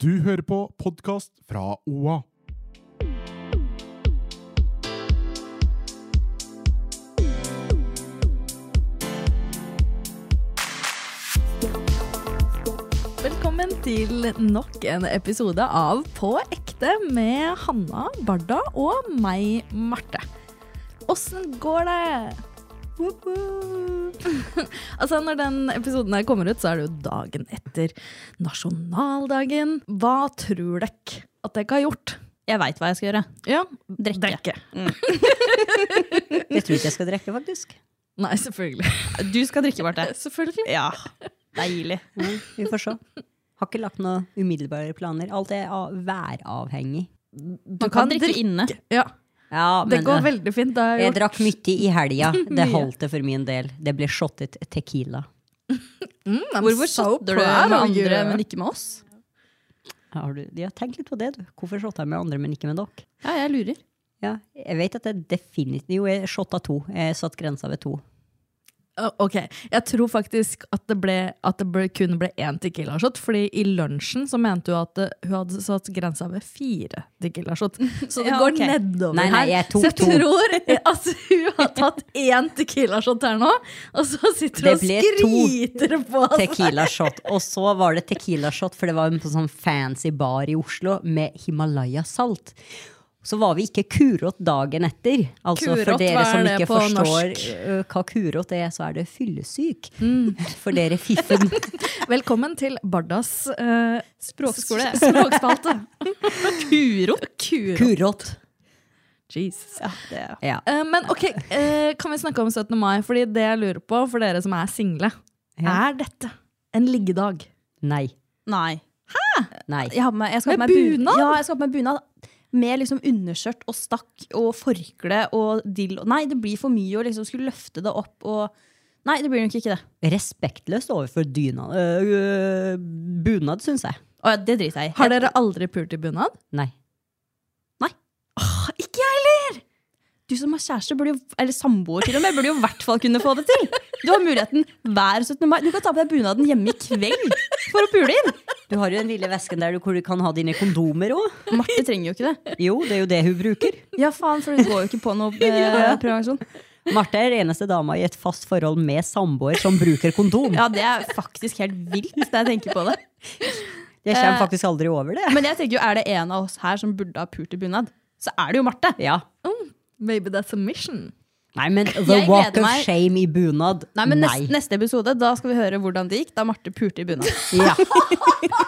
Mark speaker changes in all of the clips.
Speaker 1: Du hører på podkast fra OA.
Speaker 2: Velkommen til nok en episode av På ekte med Hanna Barda og meg, Marte. Åssen går det? Woop woop. altså Når den episoden her kommer ut, så er det jo dagen etter nasjonaldagen. Hva tror dere at dere har gjort?
Speaker 3: Jeg veit hva jeg skal gjøre.
Speaker 2: Ja,
Speaker 3: Drikke.
Speaker 2: Drikke.
Speaker 3: Jeg tror ikke jeg skal drikke, faktisk.
Speaker 2: Nei, selvfølgelig.
Speaker 3: Du skal drikke, Marte.
Speaker 2: selvfølgelig.
Speaker 3: Ja. Deilig. Ja, vi får se. Har ikke lagt noen umiddelbare planer. Alt er av- væravhengig.
Speaker 2: Du
Speaker 3: Man kan drikke inne.
Speaker 2: Ja,
Speaker 3: Ja,
Speaker 2: Det
Speaker 3: men
Speaker 2: går
Speaker 3: eh,
Speaker 2: veldig fint. Det har jeg
Speaker 3: jeg
Speaker 2: gjort.
Speaker 3: drakk mye i helga. Det
Speaker 2: Mye.
Speaker 3: holdt det for min del. Det ble shottet tequila.
Speaker 2: Hvorfor shotter du med andre, men
Speaker 4: ikke med oss?
Speaker 3: Har du, ja, tenk litt på det, du. Hvorfor shotta jeg med andre, men ikke med dere?
Speaker 4: Ja, jeg lurer.
Speaker 3: Ja, jeg vet at det definitivt Jo, jeg shotta to. Jeg satt grensa ved to.
Speaker 2: Å, Ok, jeg tror faktisk at det, ble, at det ble, kun ble én tequila shot, fordi i lunsjen så mente hun at eh, hun hadde satt grensa ved fire tequila shot. Så det
Speaker 3: Ja,
Speaker 2: går
Speaker 3: ok.
Speaker 2: nedover
Speaker 3: Nei, nei, jeg
Speaker 2: her.
Speaker 3: tok
Speaker 2: så jeg
Speaker 3: to.
Speaker 2: tror at hun har tatt én tequila shot her nå, og så sitter hun og
Speaker 3: Det ble to
Speaker 2: skryter på altså. seg.
Speaker 3: Tequila shot. Og så var det tequila shot, for det var en sånn fancy bar i Oslo med Himalaya-salt. Så var vi ikke kurot dagen etter. Altså
Speaker 2: Kurot,
Speaker 3: For dere
Speaker 2: hva er
Speaker 3: som
Speaker 2: det
Speaker 3: ikke
Speaker 2: på
Speaker 3: forstår
Speaker 2: norsk?
Speaker 3: øh, hva kurot er, så er det fyllesyk.
Speaker 2: Mm.
Speaker 3: For dere fiffen.
Speaker 2: Velkommen til Bardas eh,
Speaker 4: Språkskole.
Speaker 2: s- språkspalte.
Speaker 4: Kurot.
Speaker 2: Kuro.
Speaker 3: Kurot.
Speaker 2: Jesus.
Speaker 4: Ja, det er
Speaker 3: Ja.
Speaker 2: Eh, men ok, eh, kan vi snakke om 17. mai? Fordi det jeg lurer på, for dere som er single,
Speaker 3: Ja.
Speaker 2: er dette en liggedag?
Speaker 3: Nei.
Speaker 4: Nei.
Speaker 3: Nei.
Speaker 4: Jeg har på meg, jeg skal
Speaker 2: Med
Speaker 4: ha på meg bu-
Speaker 2: bunad?
Speaker 4: Ja, jeg skal ha på meg bunad. Med liksom underskjørt og stakk og forkle og dill. og- Nei, det blir for mye å liksom skulle løfte det opp og Nei, det blir nok ikke det.
Speaker 3: Respektløst overfor dyna øh, øh, bunad, syns jeg.
Speaker 4: Å, ja, det driter jeg i.
Speaker 2: Har dere aldri pult i bunad?
Speaker 3: Nei.
Speaker 4: Jeg- Ikke jeg heller! Du som har kjæreste, burde jo, eller samboer til og med, burde jo i hvert fall kunne få det til. Du har muligheten hver 17. mai. Du kan ta på deg bunaden hjemme i kveld for å pule inn.
Speaker 3: Du har jo den lille vesken der du, hvor du kan ha dine kondomer òg.
Speaker 4: Marte trenger jo ikke det.
Speaker 3: Jo, det er jo det hun bruker.
Speaker 4: Ja, faen, for hun går jo ikke på noe eh, prevensjon.
Speaker 3: Marte er den eneste dama i et fast forhold med samboer som bruker kondom.
Speaker 4: Ja, det er faktisk helt vilt når jeg tenker på det.
Speaker 3: Jeg kommer
Speaker 4: eh,
Speaker 3: faktisk aldri over det.
Speaker 4: Men jeg tenker jo, er det en av oss her som burde ha pult i bunad, så er det jo Marte.
Speaker 3: Ja.
Speaker 2: Maybe that's a mission.
Speaker 3: Nei, men the
Speaker 4: Jeg gleder
Speaker 3: walk of
Speaker 4: meg.
Speaker 3: shame i bunad.
Speaker 4: Nei, men neste, neste episode, da skal vi høre hvordan det gikk da Marte pulte i bunad.
Speaker 3: Ja.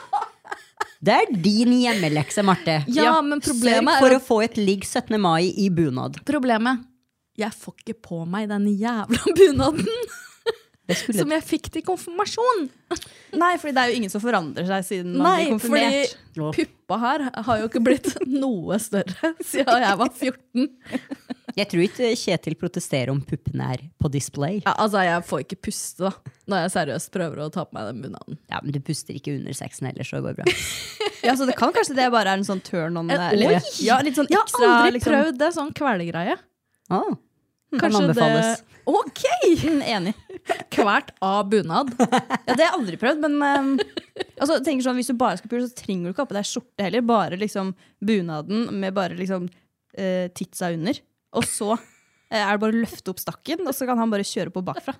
Speaker 3: Det er din hjemmelekse, Marte.
Speaker 2: Ja, men problemet
Speaker 3: Sørg
Speaker 2: er
Speaker 3: for
Speaker 2: jo
Speaker 3: å få et ligg 17. mai i bunad.
Speaker 2: Problemet Jeg får ikke på meg den jævla bunaden
Speaker 3: Det skulle
Speaker 2: som jeg fikk til konfirmasjon.
Speaker 4: Nei, fordi det er jo ingen som forandrer seg siden man
Speaker 2: Nei,
Speaker 4: blir
Speaker 2: fordi
Speaker 4: konfirmert.
Speaker 2: puppa her har jo ikke blitt noe større siden jeg var 14.
Speaker 3: Jeg tror ikke Kjetil protesterer om puppene er på display.
Speaker 2: Ja, altså, jeg får ikke puste da når jeg seriøst prøver å ta på meg den bunaden.
Speaker 3: Ja, Men du puster ikke under sexen heller, så det går bra.
Speaker 4: Ja, så det kan kanskje det bare er en sånn turn on.
Speaker 2: Eh,
Speaker 4: Eller,
Speaker 2: oi!
Speaker 4: ja, litt sånn
Speaker 2: Jeg har
Speaker 4: ekstra,
Speaker 2: aldri
Speaker 4: liksom-
Speaker 2: prøvd det, sånn kvelegreie.
Speaker 3: Ah, kan
Speaker 2: Kanskje det
Speaker 3: anbefales.
Speaker 2: Ok!
Speaker 4: Mm, enig.
Speaker 2: Kvert av bunad.
Speaker 4: Ja, det har jeg aldri prøvd, men ehm, altså, jeg tenker sånn, hvis du bare skal pule, så trenger du ikke ha på deg skjorte heller. Bare liksom bunaden med bare liksom eh, titsa under. Og så eh, er det bare å løfte opp stakken, og så kan han bare kjøre på bakfra.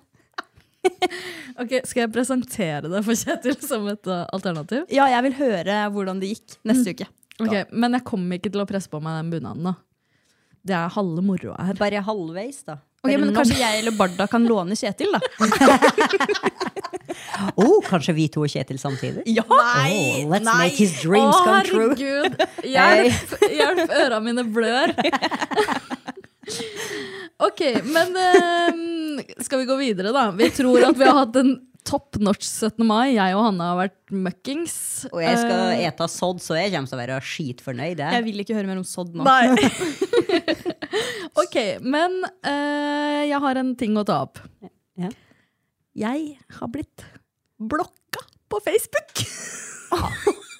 Speaker 2: Ok, Skal jeg presentere det for Kjetil som et uh, alternativ?
Speaker 4: Ja, jeg vil høre hvordan det gikk neste uke.
Speaker 2: Ok, Men jeg kommer ikke til å presse på meg den bunaden. da Det er halve moroa her.
Speaker 3: Bare halvveis, da.
Speaker 4: Ok,
Speaker 3: Bare
Speaker 4: men
Speaker 3: nå-
Speaker 4: Kanskje jeg eller Barda kan låne Kjetil, da?
Speaker 3: oh, kanskje vi to og Kjetil samtidig?
Speaker 4: Ja!
Speaker 3: Oh, let's make his dreams
Speaker 2: Å,
Speaker 3: come true.
Speaker 2: herregud! Hjelp, hjelp, øra mine blør. Ok, men eh, skal vi gå videre, da? Vi tror at vi har hatt en top notch 17. mai. Jeg og Hanne har vært møkkings.
Speaker 3: Og jeg skal
Speaker 2: Eh,
Speaker 3: ete sodd, så jeg kommer til å være skitfornøyd. jeg.
Speaker 4: Jeg vil ikke høre mer om sodd nå.
Speaker 2: Nei. ok, men eh, jeg har en ting å ta opp.
Speaker 3: Ja.
Speaker 2: Jeg har blitt blokka på Facebook.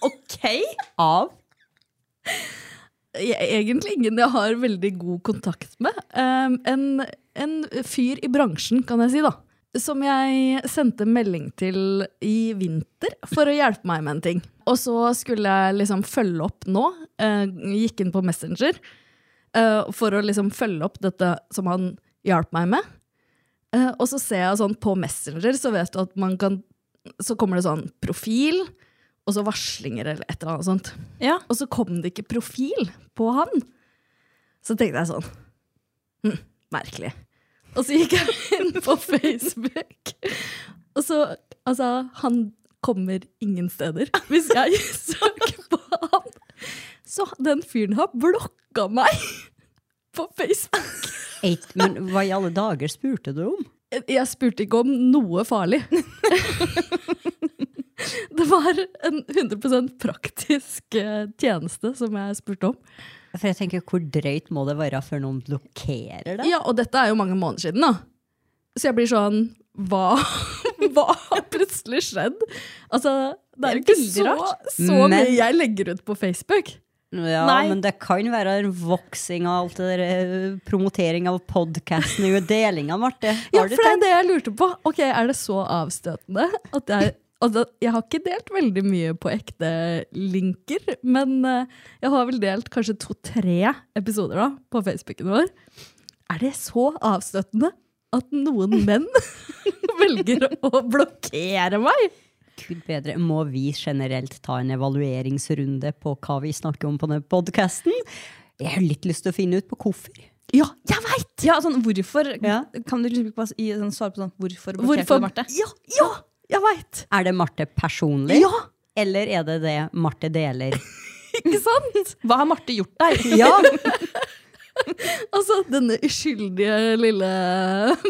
Speaker 4: Ok!
Speaker 3: Av
Speaker 2: Jeg- Egentlig ingen jeg har veldig god kontakt med. Um, en, en fyr i bransjen, kan jeg si, da. Som jeg sendte melding til i vinter for å hjelpe meg med en ting. Og så skulle jeg liksom følge opp nå. eh, gikk inn på Messenger eh, for å liksom følge opp dette som han hjalp meg med. Eh, og så ser jeg sånn på Messenger, så vet du at man kan Så kommer det sånn profil, og så varslinger eller et eller annet sånt.
Speaker 4: Ja.
Speaker 2: Og så kom det ikke profil på han. Så tenkte jeg sånn hm, Merkelig. Og så gikk jeg inn på Facebook, og så Altså, han kommer ingen steder hvis jeg søker på han. Så den fyren har blokka meg på Facebook.
Speaker 3: eight, men hva i alle dager spurte du om?
Speaker 2: Jeg spurte ikke om noe farlig. Det var en 100 praktisk eh, tjeneste som jeg spurte om.
Speaker 3: For jeg tenker, Hvor drøyt må det være før noen blokkerer det?
Speaker 2: Ja, og dette er jo mange måneder siden, da. Så jeg blir sånn Hva, hva har plutselig skjedd? Altså, det er jo
Speaker 4: Det
Speaker 2: ikke
Speaker 4: er veldig
Speaker 2: så,
Speaker 4: rart.
Speaker 2: så mye
Speaker 3: Men-
Speaker 2: jeg legger ut på Facebook.
Speaker 3: Ja,
Speaker 4: Nei.
Speaker 3: men det kan være en voksing av alt det der eh, promotering av podkasten og delinga, Marte. Har
Speaker 2: Ja,
Speaker 3: du
Speaker 2: for det er
Speaker 3: tenkt?
Speaker 2: det jeg lurte på. Ok, Er det så avstøtende at jeg Altså, jeg har ikke delt veldig mye på ekte linker, men eh, jeg har vel delt kanskje to-tre episoder da, på Facebooken vår. Er det så avstøtende at noen menn velger å blokkere meg?
Speaker 3: Gud bedre, må vi generelt ta en evalueringsrunde på hva vi snakker om på den podkasten? Jeg har litt lyst til å finne ut på hvorfor.
Speaker 2: Ja, jeg veit!
Speaker 4: Ja, sånn, hvorfor
Speaker 3: Ja.
Speaker 4: Kan du liksom ikke bare gi sånn, svare på sånn Hvorfor blokkerte
Speaker 2: Hvorfor?
Speaker 4: du Marte?
Speaker 2: Ja, ja, jeg veit!
Speaker 3: Er det Marte personlig,
Speaker 2: Ja,
Speaker 3: eller er det det Marte deler?
Speaker 2: ikke sant?
Speaker 4: Hva har Marte gjort deg?
Speaker 3: Ja,
Speaker 2: Altså, denne uskyldige lille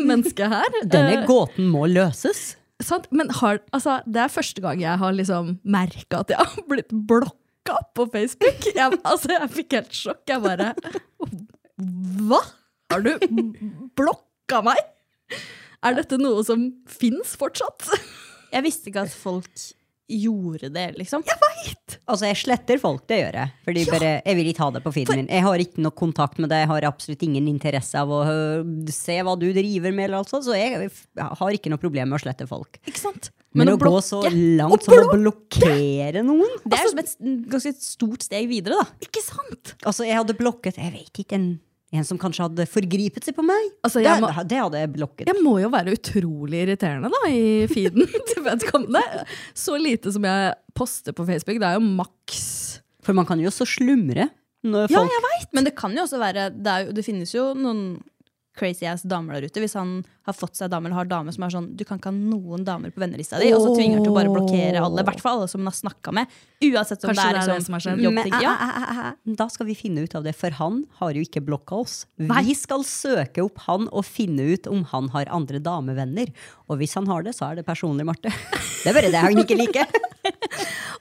Speaker 2: mennesket her. eh,
Speaker 3: Denne gåten må løses.
Speaker 2: Sant? Men har, altså, det er første gang jeg har liksom merka at jeg har blitt blokka på Facebook. Jeg, altså, jeg fikk helt sjokk. Jeg bare Hva? Har du blokka meg? Er dette noe som fins fortsatt?
Speaker 4: Jeg visste ikke at folk gjorde det, liksom.
Speaker 3: Altså, jeg sletter folk, det gjør jeg. Fordi bare, Jeg vil ikke ha det på feeden min. Jeg har ikke noe kontakt med deg, jeg har absolutt ingen interesse av å øh, se hva du driver med, eller altså, så jeg f- har ikke noe problem med å slette folk.
Speaker 2: Ikke sant?
Speaker 3: Men, å, gå
Speaker 2: blokke-
Speaker 3: så
Speaker 2: Å
Speaker 3: langt som å blokkere noen
Speaker 4: Det er som et s- ganske stort steg videre, da.
Speaker 2: Ikke sant?
Speaker 3: Altså, jeg hadde blokket Jeg vet ikke, en, en som kanskje hadde forgripet seg på meg.
Speaker 2: Altså,
Speaker 3: det,
Speaker 2: jeg må-
Speaker 3: det hadde jeg blokket.
Speaker 2: Jeg må jo være utrolig irriterende da, i feeden til vedkommende. Så lite som jeg poster på Facebook. Det er jo maks.
Speaker 3: For man kan jo så slumre når
Speaker 2: Ja,
Speaker 3: folk
Speaker 2: jeg veit!
Speaker 4: Men det kan jo også være Det, er jo, det finnes jo noen crazy ass damer der ute. Hvis han har fått seg dame eller har dame som er sånn Du kan ikke ha noen damer på vennelista di. Og så tvinger han til å bare blokkere alle. I hvert fall alle som han har snakka med. Uansett om
Speaker 2: Kanskje
Speaker 4: det er, liksom,
Speaker 2: som har skjedd.
Speaker 4: jobb-
Speaker 3: Men,
Speaker 4: ting. Ja.
Speaker 3: æ, æ, æ, æ, Da skal vi finne ut av det, for han har jo ikke blokka oss. Vi skal søke opp han og finne ut om han har andre damevenner. Og hvis han har det, så er det personlig, Marte. Det er bare det han ikke liker.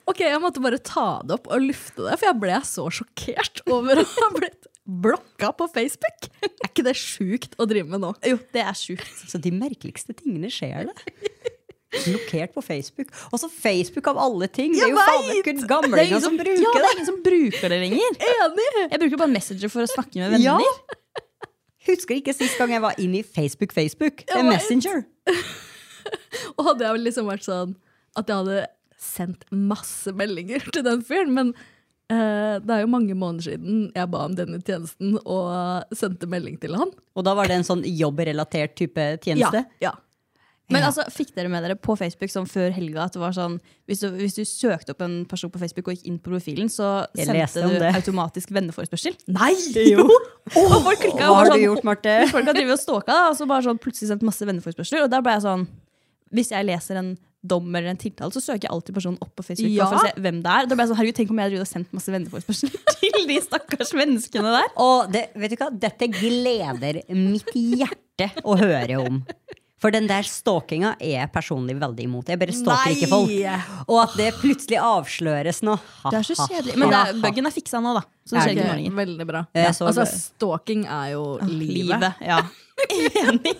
Speaker 2: Ok, jeg måtte bare ta det opp og lufte det, for jeg ble så sjokkert over å ha blitt blokka på Facebook. Er ikke det sjukt å drive med nå?
Speaker 4: Jo, det er sjukt.
Speaker 3: Så de merkeligste tingene skjer det. Blokkert på Facebook. Også Facebook av alle ting! Det er jo faen ikke
Speaker 4: Det er
Speaker 3: gamlinger
Speaker 4: ingen
Speaker 3: som
Speaker 4: som-
Speaker 3: bruker
Speaker 4: Ja, det
Speaker 3: det!
Speaker 4: er ingen som bruker det lenger.
Speaker 2: Enig!
Speaker 4: Jeg bruker bare Messenger for å snakke med venner.
Speaker 3: Ja. Husker ikke sist gang jeg var inne i Facebook Facebook. Det er
Speaker 2: Jeg vet.
Speaker 3: Messenger.
Speaker 2: Og hadde jeg liksom vært sånn at jeg hadde sendt masse meldinger til den fyren, men eh, det er jo mange måneder siden jeg ba om denne tjenesten og sendte melding til han.
Speaker 3: Og da var det en sånn jobbrelatert type tjeneste.
Speaker 2: Ja, ja.
Speaker 4: Men altså, fikk dere med dere på Facebook sånn før helga at det var sånn hvis du, hvis du søkte opp en person på Facebook og gikk inn på profilen, så
Speaker 3: Jeg leste
Speaker 4: sendte
Speaker 3: om
Speaker 4: du
Speaker 3: det.
Speaker 4: automatisk venneforespørsel?
Speaker 3: Nei! Jo!
Speaker 4: Og folk klikket,
Speaker 3: Hva
Speaker 4: og var
Speaker 3: har du
Speaker 4: sånn,
Speaker 3: gjort, Marte?
Speaker 4: Folk har drevet og stalka, da, og så bare sånn plutselig sendt masse venneforespørsler. Og der ble jeg sånn Hvis jeg leser en dom eller en tiltale, så søker jeg alltid personen opp på Facebook.
Speaker 2: Ja.
Speaker 4: bare for å se hvem det er. Da ble jeg sånn, herregud, Tenk om jeg hadde sendt masse venneforespørsler til de stakkars menneskene der.
Speaker 3: Og det, vet du hva? dette gleder mitt hjerte å høre om. For den der stalkinga er jeg personlig veldig imot. Jeg bare
Speaker 2: Nei!
Speaker 3: stalker ikke folk. Og at det plutselig avsløres nå. Ha,
Speaker 4: Det er så
Speaker 3: ha,
Speaker 4: kjedelig.
Speaker 3: ha.
Speaker 4: Men det er, buggen er fiksa nå, da. Så det skjer ikke noe
Speaker 2: Ok,
Speaker 4: lenger.
Speaker 2: Veldig bra.
Speaker 3: Jeg så
Speaker 2: Altså,
Speaker 3: det.
Speaker 2: stalking er jo livet.
Speaker 4: Livet. Ja. Enig.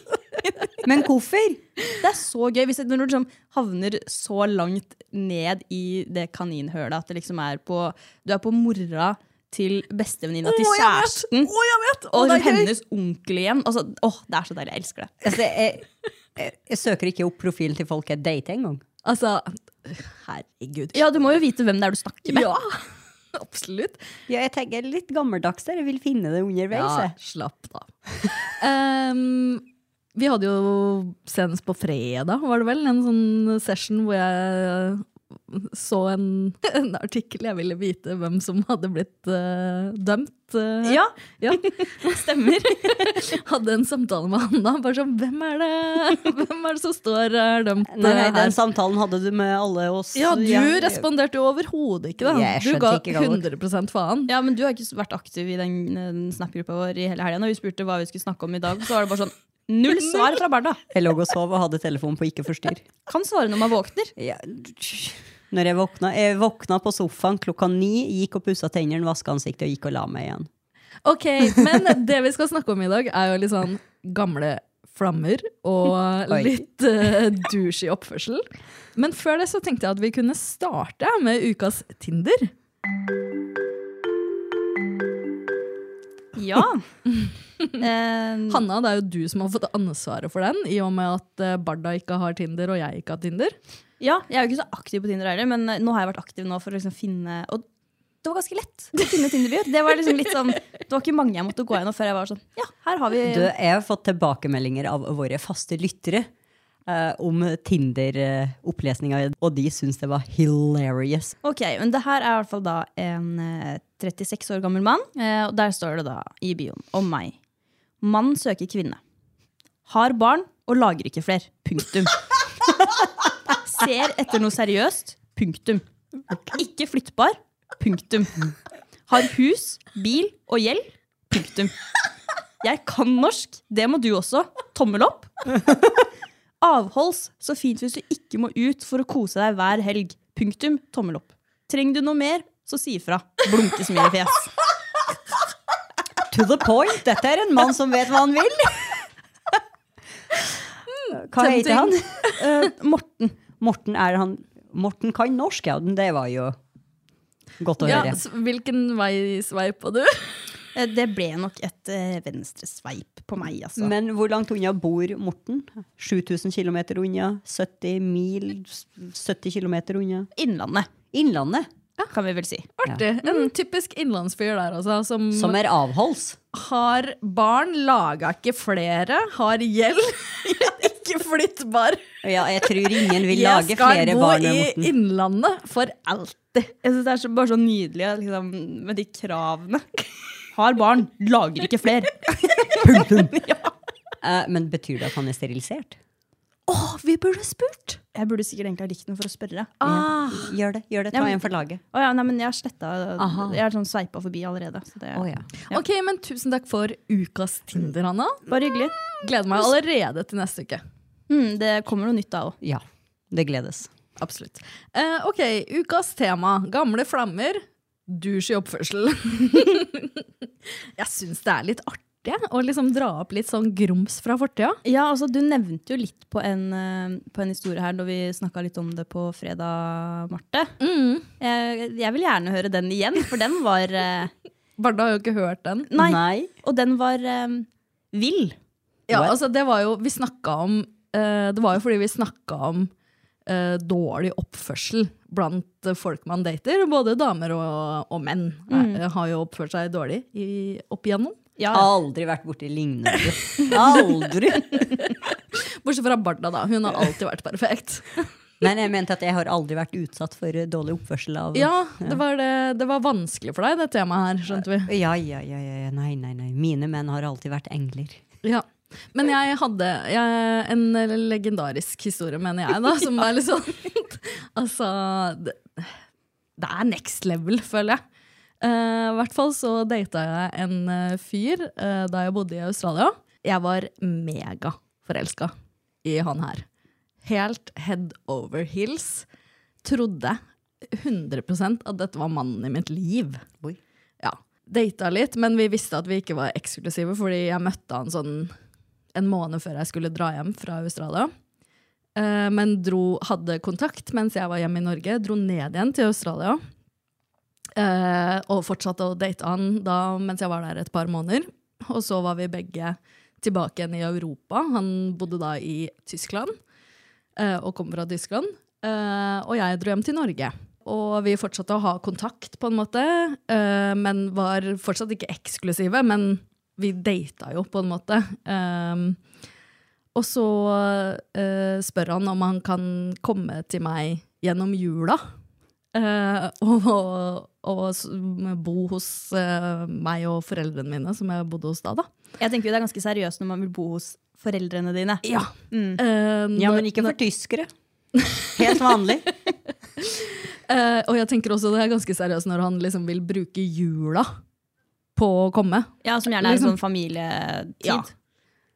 Speaker 3: Men hvorfor?
Speaker 4: Det er så gøy hvis det, når du liksom havner så langt ned i det kaninhølet at det liksom er på Du er på mora til bestevenninna til
Speaker 2: Å, jeg vet!
Speaker 4: kjæresten.
Speaker 2: Å, jeg vet! Å,
Speaker 4: Og
Speaker 2: det er gøy!
Speaker 4: hennes onkel igjen. Altså, åh, det er så deilig. Jeg elsker det.
Speaker 3: Altså, jeg, jeg, jeg søker ikke opp profilen til folk jeg dater engang.
Speaker 2: Altså, herregud.
Speaker 4: Ja, du må jo vite hvem det er du snakker med.
Speaker 2: Ja, absolutt.
Speaker 3: Ja, jeg tenker litt gammeldags der. Jeg vil finne det underveis.
Speaker 2: Ja,
Speaker 3: jeg.
Speaker 2: slapp da. Ehm, vi hadde jo senest på fredag, var det vel, en sånn session hvor jeg så en, en artikkel jeg ville vite hvem som hadde blitt eh, dømt. eh,
Speaker 4: Ja,
Speaker 2: ja.
Speaker 4: stemmer.
Speaker 2: Hadde en samtale med Hanna. Bare sånn, hvem er det, hvem er det som står eh, er dømt?
Speaker 3: Nei, nei,
Speaker 2: eh, her?
Speaker 3: den samtalen hadde du med alle oss.
Speaker 2: ja, du
Speaker 3: Ja.
Speaker 2: responderte jo overhodet ikke, da.
Speaker 3: Jeg
Speaker 2: Du
Speaker 3: skjønte
Speaker 2: ga
Speaker 3: ikke hva det
Speaker 2: 100 faen.
Speaker 4: Ja, men du har ikke vært aktiv i den, den Snap-gruppa vår i hele helga. Når vi spurte hva vi skulle snakke om i dag, så var det bare sånn null svar fra Berda.
Speaker 3: Jeg lå og sov og hadde telefonen på ikke forstyrr.
Speaker 4: Kan svare når man våkner.
Speaker 3: Ja, når jeg våkna Jeg våkna på sofaen klokka ni, gikk og pussa tennene, vaska ansiktet og gikk og la meg igjen.
Speaker 2: Ok, men det vi skal snakke om i dag, er jo litt sånn gamle flammer og
Speaker 3: Oi.
Speaker 2: litt uh, douche i oppførsel. Men før det så tenkte jeg at vi kunne starte med ukas Tinder.
Speaker 4: Ja. Eh,
Speaker 2: Hanna, det er jo du som har fått ansvaret for den, i og med at eh, Barda ikke har Tinder og jeg ikke har Tinder.
Speaker 4: Ja, jeg er jo ikke så aktiv på Tinder heller, men eh, nå har jeg vært aktiv nå for å liksom finne Og det var ganske lett å finne Tinder-byer. Det var liksom litt sånn, det var ikke mange jeg måtte gå gjennom før jeg var sånn Ja, her har vi
Speaker 3: Du, jeg har fått tilbakemeldinger av våre faste lyttere eh, om Tinder-opplesninga, og de syns det var hilarious.
Speaker 4: Ok, men det her er i hvert fall da en eh, 36 år gammel mann, eh, og der står det da i bioen om meg. Mann søker kvinne. Har barn og lager ikke fler. Punktum. Ser etter noe seriøst. Punktum. Ikke flyttbar. Punktum. Har hus, bil og gjeld. Punktum. Jeg kan norsk. Det må du også. Tommel opp. Avholds. Så fint hvis du ikke må ut for å kose deg hver helg. Punktum. Tommel opp. Trenger du noe mer, så si ifra. Blunkesmilefjes.
Speaker 3: To the point! Dette er en mann som vet hva han vil!
Speaker 2: Mm,
Speaker 3: Hva heter han?
Speaker 4: Eh, Morten.
Speaker 3: Morten, er han Morten kan norsk, ja. Det var jo godt å
Speaker 2: Ja,
Speaker 3: høre.
Speaker 2: s- hvilken vei sveipa du?
Speaker 4: Eh, Det ble nok et eh, venstresveip på meg, altså.
Speaker 3: Men hvor langt unna bor Morten? 7000 km unna? 70 mil? 70 km unna?
Speaker 4: Innlandet,
Speaker 3: Innlandet,
Speaker 4: kan vi vel si.
Speaker 2: Artig. En typisk innlandsfyr der, altså. Som,
Speaker 3: som er avholds.
Speaker 2: har barn, laga ikke flere, har gjeld, ikke flyttbar.
Speaker 3: Ja, jeg tror ingen vil
Speaker 2: Jeg
Speaker 3: lage
Speaker 2: skal
Speaker 3: flere
Speaker 2: bo
Speaker 3: barn enn
Speaker 2: i
Speaker 3: Morten.
Speaker 2: Innlandet for alltid.
Speaker 4: Jeg synes Det er så, bare så nydelig at liksom, med de kravene. Har barn, lager ikke fler.
Speaker 3: Eh, Men betyr det at han er sterilisert?
Speaker 2: Å, vi burde spurt!
Speaker 4: Jeg burde sikkert egentlig ha likt den for å spørre.
Speaker 2: Ah,
Speaker 3: Gjør det, gjør det,
Speaker 4: Ja,
Speaker 3: ta
Speaker 4: men-
Speaker 3: en for laget.
Speaker 4: Å ja, nei, men jeg har sletta
Speaker 3: Aha.
Speaker 4: Jeg har sånn sveipa forbi allerede. Så det,
Speaker 3: Å, ja.
Speaker 2: Ok, men Tusen takk for ukas Tinder, Hanna.
Speaker 4: Bare hyggelig.
Speaker 2: Gleder meg allerede til neste uke.
Speaker 4: Mm, det kommer noe nytt da òg.
Speaker 3: ja. Det gledes.
Speaker 2: Absolutt. Eh, ok, ukas tema. Gamle flammer. Douche i oppførsel. Jeg syns det er litt artig å liksom dra opp litt sånn grums fra fortida.
Speaker 4: Ja, altså, du nevnte jo litt på en, eh, på en historie her når vi snakka litt om det på fredag, Marte. Jeg, jeg vil gjerne høre den igjen, for den var eh,
Speaker 2: Barda har jo ikke hørt den.
Speaker 4: Nei. Og den var eh, vill.
Speaker 2: Ja,
Speaker 3: What?
Speaker 2: altså det var jo Vi snakka om eh, Det var jo fordi vi snakka om eh, dårlig oppførsel blant eh, folk man dater. Både damer og, og menn eh, har jo oppført seg dårlig i, opp igjennom.
Speaker 3: Aldri vært borti lignende. Aldri!
Speaker 2: Bortsett fra Barda, da. Hun har alltid vært perfekt.
Speaker 3: Nei, nei, jeg mente at jeg har aldri vært utsatt for eh, dårlig oppførsel av
Speaker 2: Ja, det var, det, det var vanskelig for deg, det temaet her, skjønte vi.
Speaker 3: Ja, ja, ja, ja, ja. Nei, nei, nei. Mine menn har alltid vært engler.
Speaker 2: Ja. Men jeg hadde jeg, en legendarisk historie, mener jeg, da, som er litt sånn Altså det, det er next level, føler jeg. Eh, I hvert fall så data jeg en eh, fyr eh, da jeg bodde i Australia. Jeg var megaforelska i han her. Helt head over hills. Trodde 100 at dette var mannen i mitt liv.
Speaker 3: Oi.
Speaker 2: Ja, Data litt, men vi visste at vi ikke var eksklusive, fordi jeg møtte han sånn en måned før jeg skulle dra hjem fra Australia. Eh, men dro, hadde kontakt mens jeg var hjemme i Norge, dro ned igjen til Australia. Eh, og fortsatte å date han da, mens jeg var der et par måneder. Og så var vi begge tilbake igjen i Europa. Han bodde da i Tyskland eh, og kom fra Tyskland. Eh, og jeg dro hjem til Norge. Og vi fortsatte å ha kontakt, på en måte, eh, men var fortsatt ikke eksklusive. Men vi data jo, på en måte. Eh, og så eh, spør han om han kan komme til meg gjennom jula. eh, og, og s- bo hos eh, meg og foreldrene mine, som jeg bodde hos da. da.
Speaker 4: Jeg tenker jo Det er ganske seriøst når man vil bo hos foreldrene dine.
Speaker 2: Ja.
Speaker 4: Mm.
Speaker 3: Ja, men ikke for tyskere. Helt vanlig.
Speaker 2: Eh, og jeg tenker også det er ganske seriøst når han liksom vil bruke jula på å komme.
Speaker 4: Ja, Som gjerne er en
Speaker 2: Liksom-
Speaker 4: sånn familietid.
Speaker 2: Ja.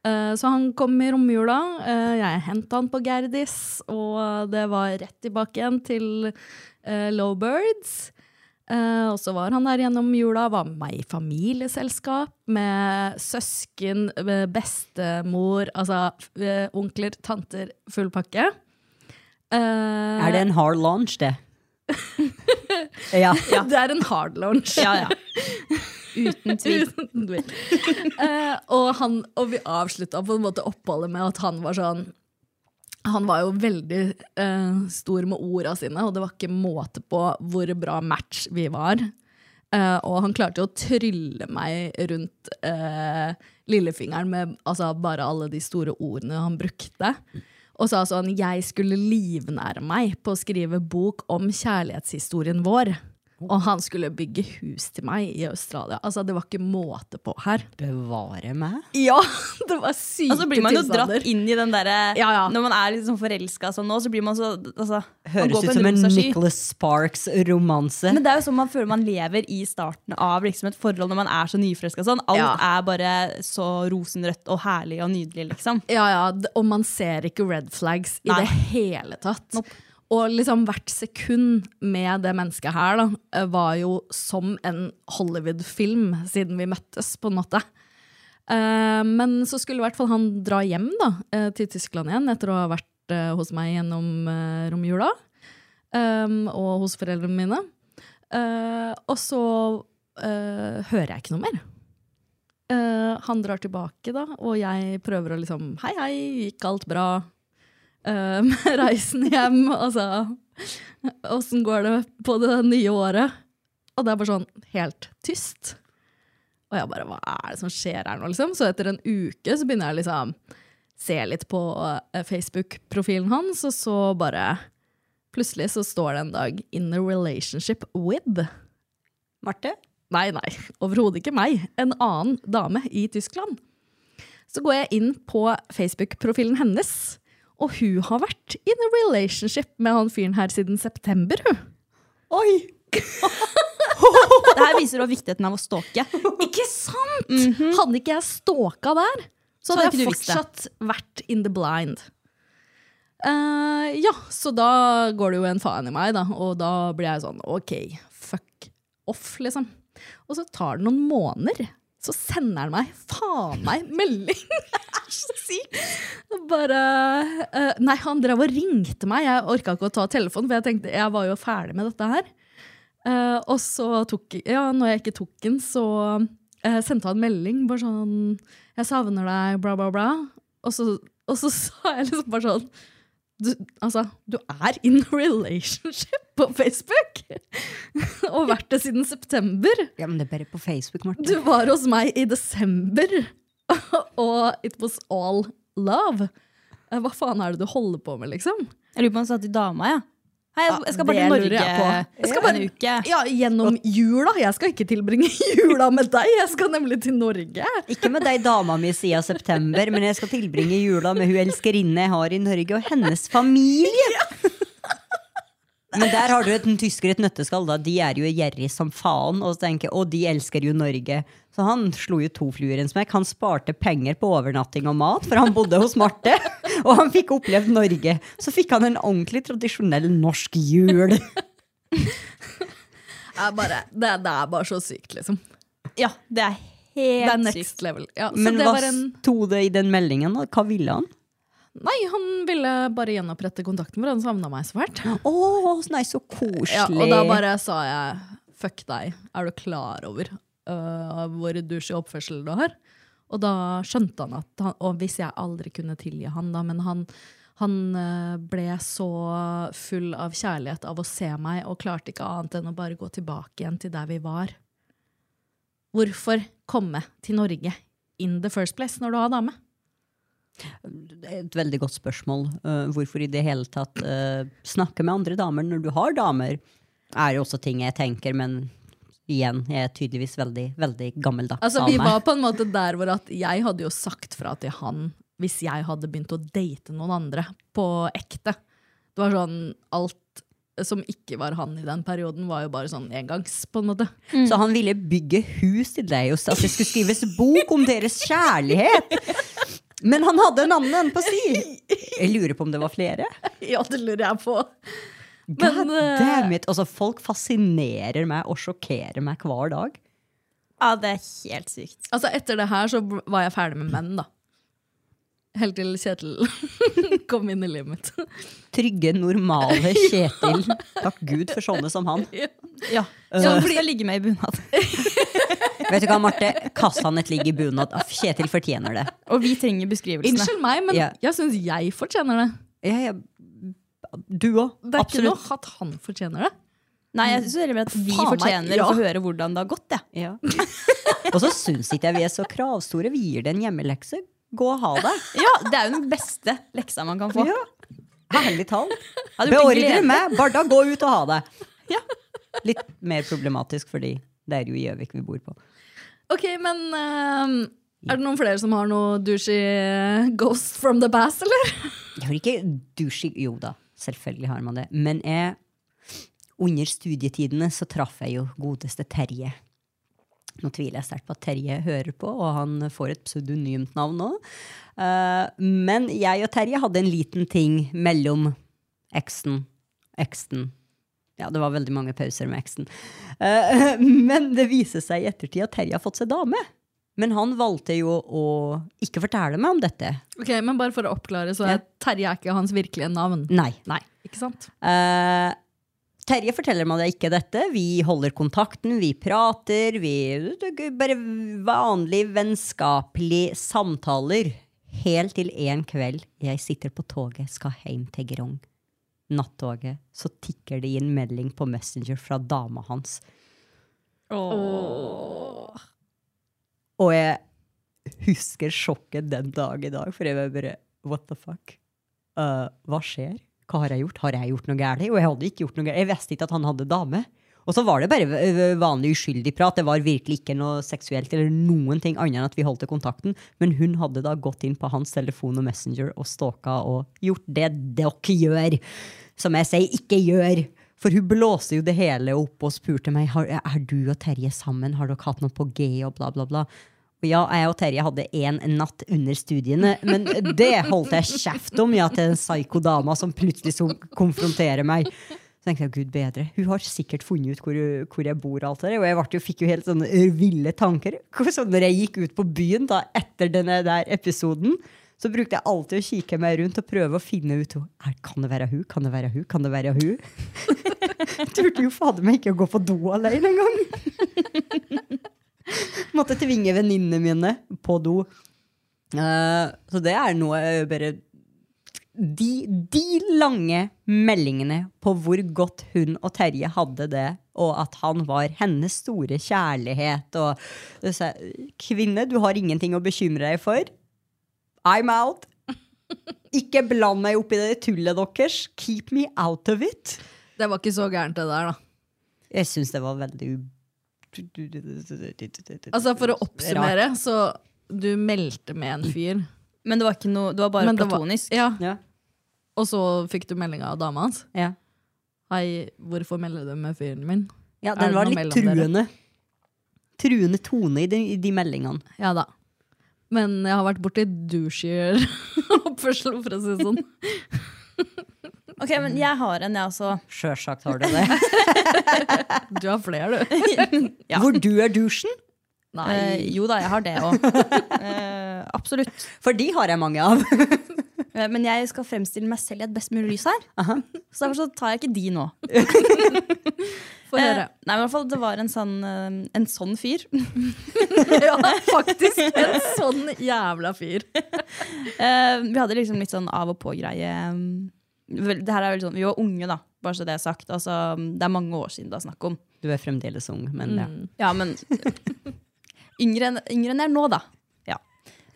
Speaker 2: Eh, så han kom i romjula. eh, jeg henta han på Gerdis, og det var rett tilbake igjen til eh, Lowbirds. Eh, og så var han der gjennom jula, var med meg i familieselskap med søsken, med bestemor, altså eh, onkler, tanter, full pakke. Eh,
Speaker 3: Er det en hard launch, det? ja.
Speaker 2: Det er en hard launch.
Speaker 4: Ja, ja. Uten tvil.
Speaker 2: Uten tvil. Eh, og, han, og vi avslutta på en måte oppholdet med at han var sånn Han var jo veldig eh, stor med orda sine, og det var ikke måte på hvor bra match vi var. Eh, og han klarte jo å trylle meg rundt eh, lillefingeren med altså, bare alle de store ordene han brukte. Og sa sånn 'Jeg skulle livnære meg på å skrive bok om kjærlighetshistorien vår'. Og han skulle bygge hus til meg i Australia. Altså, det var ikke måte på her.
Speaker 3: Bevare meg.
Speaker 2: Ja, det var syke
Speaker 4: Og så Altså, blir man jo
Speaker 2: tilstander.
Speaker 4: dratt inn i den derre
Speaker 2: Ja, ja.
Speaker 4: Når man er liksom forelska sånn nå, så blir man så altså, man går
Speaker 3: Høres
Speaker 4: på
Speaker 3: ut som en
Speaker 4: rosa sky.
Speaker 3: Nicholas Sparks-romanse.
Speaker 4: Men det er jo sånn man føler man lever i starten av liksom, et forhold når man er så nyforelska. Sånn. Alt
Speaker 2: Ja.
Speaker 4: er bare så rosenrødt og herlig og nydelig, liksom.
Speaker 2: Ja, ja, d- og man ser ikke red flags i
Speaker 4: Nei.
Speaker 2: det hele tatt. Og liksom hvert sekund med det mennesket her da, eh, var jo som en Hollywood-film siden vi møttes, på en måte. Eh, men så skulle i hvert fall han dra hjem da, eh, til Tyskland igjen etter å ha vært eh, hos meg gjennom eh, romjula. eh, og hos foreldrene mine. Eh, og så eh, hører jeg ikke noe mer. Eh, han drar tilbake, da, og jeg prøver å liksom Hei, hei, gikk alt bra eh, med reisen hjem? Altså, åssen går det på det nye året? Og det er bare sånn helt tyst. Og jeg bare Hva er det som skjer her nå, liksom? Så etter en uke så begynner jeg liksom se litt på eh, Facebook-profilen hans, og så bare Plutselig så står det en dag 'In a relationship with'.
Speaker 3: Marte?
Speaker 2: Nei, nei, overhodet ikke meg. En annen dame i Tyskland. Så går jeg inn på Facebook-profilen hennes, og hun har vært in a relationship med han fyren her siden september, hun.
Speaker 3: Oi!
Speaker 4: Det her viser også viktigheten av å stalke.
Speaker 2: Ikke sant? Hadde ikke jeg stalka der, så
Speaker 4: hadde
Speaker 2: hadde jeg
Speaker 4: Mhm. ikke du visst det.
Speaker 2: fortsatt vært in the blind. Eh, ja, så da går det jo en faen i meg, da, og da blir jeg sånn OK, fuck off, liksom. Og så tar det noen måneder, så sender han meg faen meg melding! det er så sykt! Og Bare eh, Nei, han drev og ringte meg. Jeg orka ikke å ta telefonen, for jeg tenkte jeg var jo ferdig med dette her. Eh, og så tok Ja, når jeg ikke tok den, så eh, sendte han melding. Bare sånn 'Jeg savner deg', bla, bla, bla. Og så, og så sa jeg liksom bare sånn du, Altså, du er in a relationship på Facebook! og vært det siden september.
Speaker 3: Ja, men det er bare på Facebook, Marte.
Speaker 2: Du var hos meg i desember, og it was all love. Eh, Hva faen er det du holder på med, liksom?
Speaker 4: Jeg lurer på om han sa til dama, ja. Hei, jeg, jeg skal bare
Speaker 2: det
Speaker 4: til
Speaker 2: lurer
Speaker 4: Norge
Speaker 2: jeg på. Jeg skal
Speaker 4: en
Speaker 2: bare-
Speaker 4: uke.
Speaker 2: Ja, gjennom jula. Jeg skal ikke tilbringe jula med deg, jeg skal nemlig til Norge.
Speaker 3: Ikke med deg dama mi siden september, men jeg skal tilbringe jula med hun elskerinne jeg har i Norge, og hennes familie. Men der har du et tysker, et nøtteskall. da De er jo gjerrig som faen. Og så tenker jeg, å, de elsker jo Norge. Så han slo jo to fluer i en smekk. Han sparte penger på overnatting og mat, for han bodde hos Marte. Og han fikk opplevd Norge. Så fikk han en ordentlig tradisjonell norsk jul.
Speaker 2: Jeg bare, det, det er bare så sykt, liksom.
Speaker 4: Ja, det er
Speaker 2: Det er
Speaker 4: helt sykt.
Speaker 2: next level. Ja, så
Speaker 3: Men
Speaker 2: det
Speaker 3: hva
Speaker 2: var en
Speaker 3: sto det i den meldingen? da? Hva ville han?
Speaker 2: Nei, han ville bare gjenopprette kontakten vår. Han savna meg så fælt.
Speaker 3: Å, så nice og koselig.
Speaker 2: Ja, og da bare sa jeg fuck deg, er du klar over øh, hvor dusj i oppførsel du har? Og da skjønte han at han, Og hvis jeg aldri kunne tilgi han, da, men han, han øh, ble så full av kjærlighet av å se meg og klarte ikke annet enn å bare gå tilbake igjen til der vi var. Hvorfor komme til Norge in the first place når du har dame?
Speaker 3: Det er Et veldig godt spørsmål. Eh, hvorfor i det hele tatt eh, snakke med andre damer når du har damer, er jo også ting jeg tenker, men igjen, jeg er tydeligvis veldig, veldig gammeldags
Speaker 2: Altså, vi var på en måte der hvor at jeg hadde jo sagt fra til han hvis jeg hadde begynt å date noen andre på ekte. Det var sånn alt som ikke var han i den perioden, var jo bare sånn engangs, på en måte.
Speaker 3: Så han ville bygge hus til deg, og at det skulle skrives bok om deres kjærlighet! Men han hadde en annen enn på si! Jeg lurer på om det var flere.
Speaker 2: Ja, det lurer jeg på.
Speaker 3: God
Speaker 2: Men, eh,
Speaker 3: damn it! Altså, folk fascinerer meg og sjokkerer meg hver dag.
Speaker 4: Ja, det er helt sykt.
Speaker 2: Altså, etter det her så b- var jeg ferdig med menn, da. Helt til Kjetil kom inn i livet mitt.
Speaker 3: Trygge, normale Kjetil. Takk Gud for sånne som han.
Speaker 4: Ja, ja fordi jeg ligger med i bunad.
Speaker 3: Vet du hva, Marte? Kast han et ligg i bunad. Aff, Kjetil fortjener det.
Speaker 4: Og vi trenger beskrivelsene.
Speaker 2: Unnskyld meg, men
Speaker 3: Ja.
Speaker 2: jeg syns jeg fortjener det.
Speaker 3: Ja, ja. Du òg.
Speaker 2: Det er ikke
Speaker 3: Absolutt.
Speaker 2: noe at han fortjener det.
Speaker 4: Nei, jeg synes heller at vi
Speaker 2: Faen meg,
Speaker 4: fortjener
Speaker 2: ja.
Speaker 4: å få høre hvordan det har gått. Ja.
Speaker 3: Ja. Og så syns ikke jeg vi er så kravstore. Vi gir det en hjemmelekse. Gå og ha det.
Speaker 4: ja, Det er jo den beste leksa man kan få.
Speaker 3: Ja. Herlig tall.
Speaker 4: Hadde blitt
Speaker 3: Beordre
Speaker 4: glede.
Speaker 3: meg. Barda, gå ut og ha det. Litt mer problematisk, fordi det er jo Gjøvik vi bor på.
Speaker 2: Ok, men ehm, er det noen flere som har noe douchey ghost from the past, eller?
Speaker 3: Jeg har ikke douching Jo da, selvfølgelig har man det. Men jeg, under studietidene så traff jeg jo godeste Terje. Nå tviler jeg sterkt på at Terje hører på, og han får et pseudonymt navn nå. Eh, men jeg og Terje hadde en liten ting mellom eksen, eksen Ja, det var veldig mange pauser med eksen. Eh, men det viser seg i ettertid at Terje har fått seg dame. Men han valgte jo å ikke fortelle meg om dette.
Speaker 2: Ok, men bare for å oppklare, så
Speaker 3: Ja.
Speaker 2: er Terje er ikke hans virkelige navn.
Speaker 3: Nei.
Speaker 2: Nei, ikke sant?
Speaker 3: Eh, Terje forteller meg det ikke dette. Vi holder kontakten, vi prater. Vi Bare vanlige vennskapelige samtaler. Helt til en kveld jeg sitter på toget, skal hjem til Grong. Nattoget. Så tikker det inn melding på Messenger fra dama hans. Og jeg husker sjokket den dag i dag, for jeg var bare What the fuck? Eh, hva skjer? Hva har jeg gjort? Har jeg gjort noe galt? Og jeg hadde ikke gjort noe galt. Jeg visste ikke at han hadde dame. Og så var det bare eh, vanlig uskyldig prat. Det var virkelig ikke noe seksuelt eller noen ting annet enn at vi holdt kontakten. Men hun hadde da gått inn på hans telefon og Messenger og stalka og gjort det dere gjør. Som jeg sier, ikke gjør! For hun blåste jo det hele opp og spurte meg har, er du og Terje sammen. Har dere hatt noe på G og bla, bla, bla. Og Ja, jeg og Terje hadde én natt under studiene, men det holdt jeg kjeft om ja, til den psykodama som plutselig så konfronterer meg. Så tenkte jeg, gud bedre, Hun har sikkert funnet ut hvor, hvor jeg bor, og alt det der, og jeg vart jo, fikk jo helt sånne ville tanker. Så når jeg gikk ut på byen da, etter denne der episoden, så brukte jeg alltid å kikke meg rundt og prøve å finne ut er, kan det være hun, kan det være hun, kan det være hun. Jeg turte jo fader meg ikke å gå på do alene engang. Måtte tvinge venninnene mine på do. Eh, så det er noe jeg bare de, de lange meldingene på hvor godt hun og Terje hadde det, og at han var hennes store kjærlighet. Og det sa jeg, kvinne, du har ingenting å bekymre deg for. I'm out. Ikke bland meg opp i det tullet deres. Keep me out of it.
Speaker 2: Det var ikke så gærent, det der, da.
Speaker 3: Jeg syns det var veldig u-
Speaker 2: Altså For å oppsummere, så du meldte med en fyr.
Speaker 4: Men det var, ikke noe, det var bare
Speaker 2: Men det var-
Speaker 4: platonisk.
Speaker 2: Ja,
Speaker 3: Ja.
Speaker 2: Og så fikk du melding av dama hans.
Speaker 3: Ja.
Speaker 2: Hei, hvorfor melder du med fyren min?
Speaker 3: ja,
Speaker 2: Er det
Speaker 3: den var
Speaker 2: noe
Speaker 3: litt
Speaker 2: mellom dere?
Speaker 3: truende. Truende tone i de, i de meldingene.
Speaker 2: Ja da. Men jeg har vært borti douchier oppførsel, for å si det sånn.
Speaker 4: Ok, men jeg har en, jeg altså. også.
Speaker 3: Sjølsagt har du det.
Speaker 2: Du har flere, du.
Speaker 3: Hvor du er dusjen?
Speaker 2: Nei.
Speaker 4: Eh, jo da, jeg har det òg. Eh, absolutt.
Speaker 3: For de har jeg mange av.
Speaker 4: Eh, men jeg skal fremstille meg selv i et best mulig lys her. Så derfor så tar jeg ikke de nå.
Speaker 2: Få
Speaker 4: Eh,
Speaker 2: høre.
Speaker 4: nei, men i hvert fall, Det var en sånn, eh, en sånn fyr.
Speaker 2: Ja, faktisk en sånn jævla fyr.
Speaker 4: Eh, vi hadde liksom litt sånn av og på-greie. mm, vel, Det her er vel sånn, Vi var unge, da, bare så det er sagt. Altså, det er mange år siden det er snakk om.
Speaker 3: Du er fremdeles ung, men ja.
Speaker 4: Ja, men yngre, enn- yngre enn jeg er nå, da. Ja.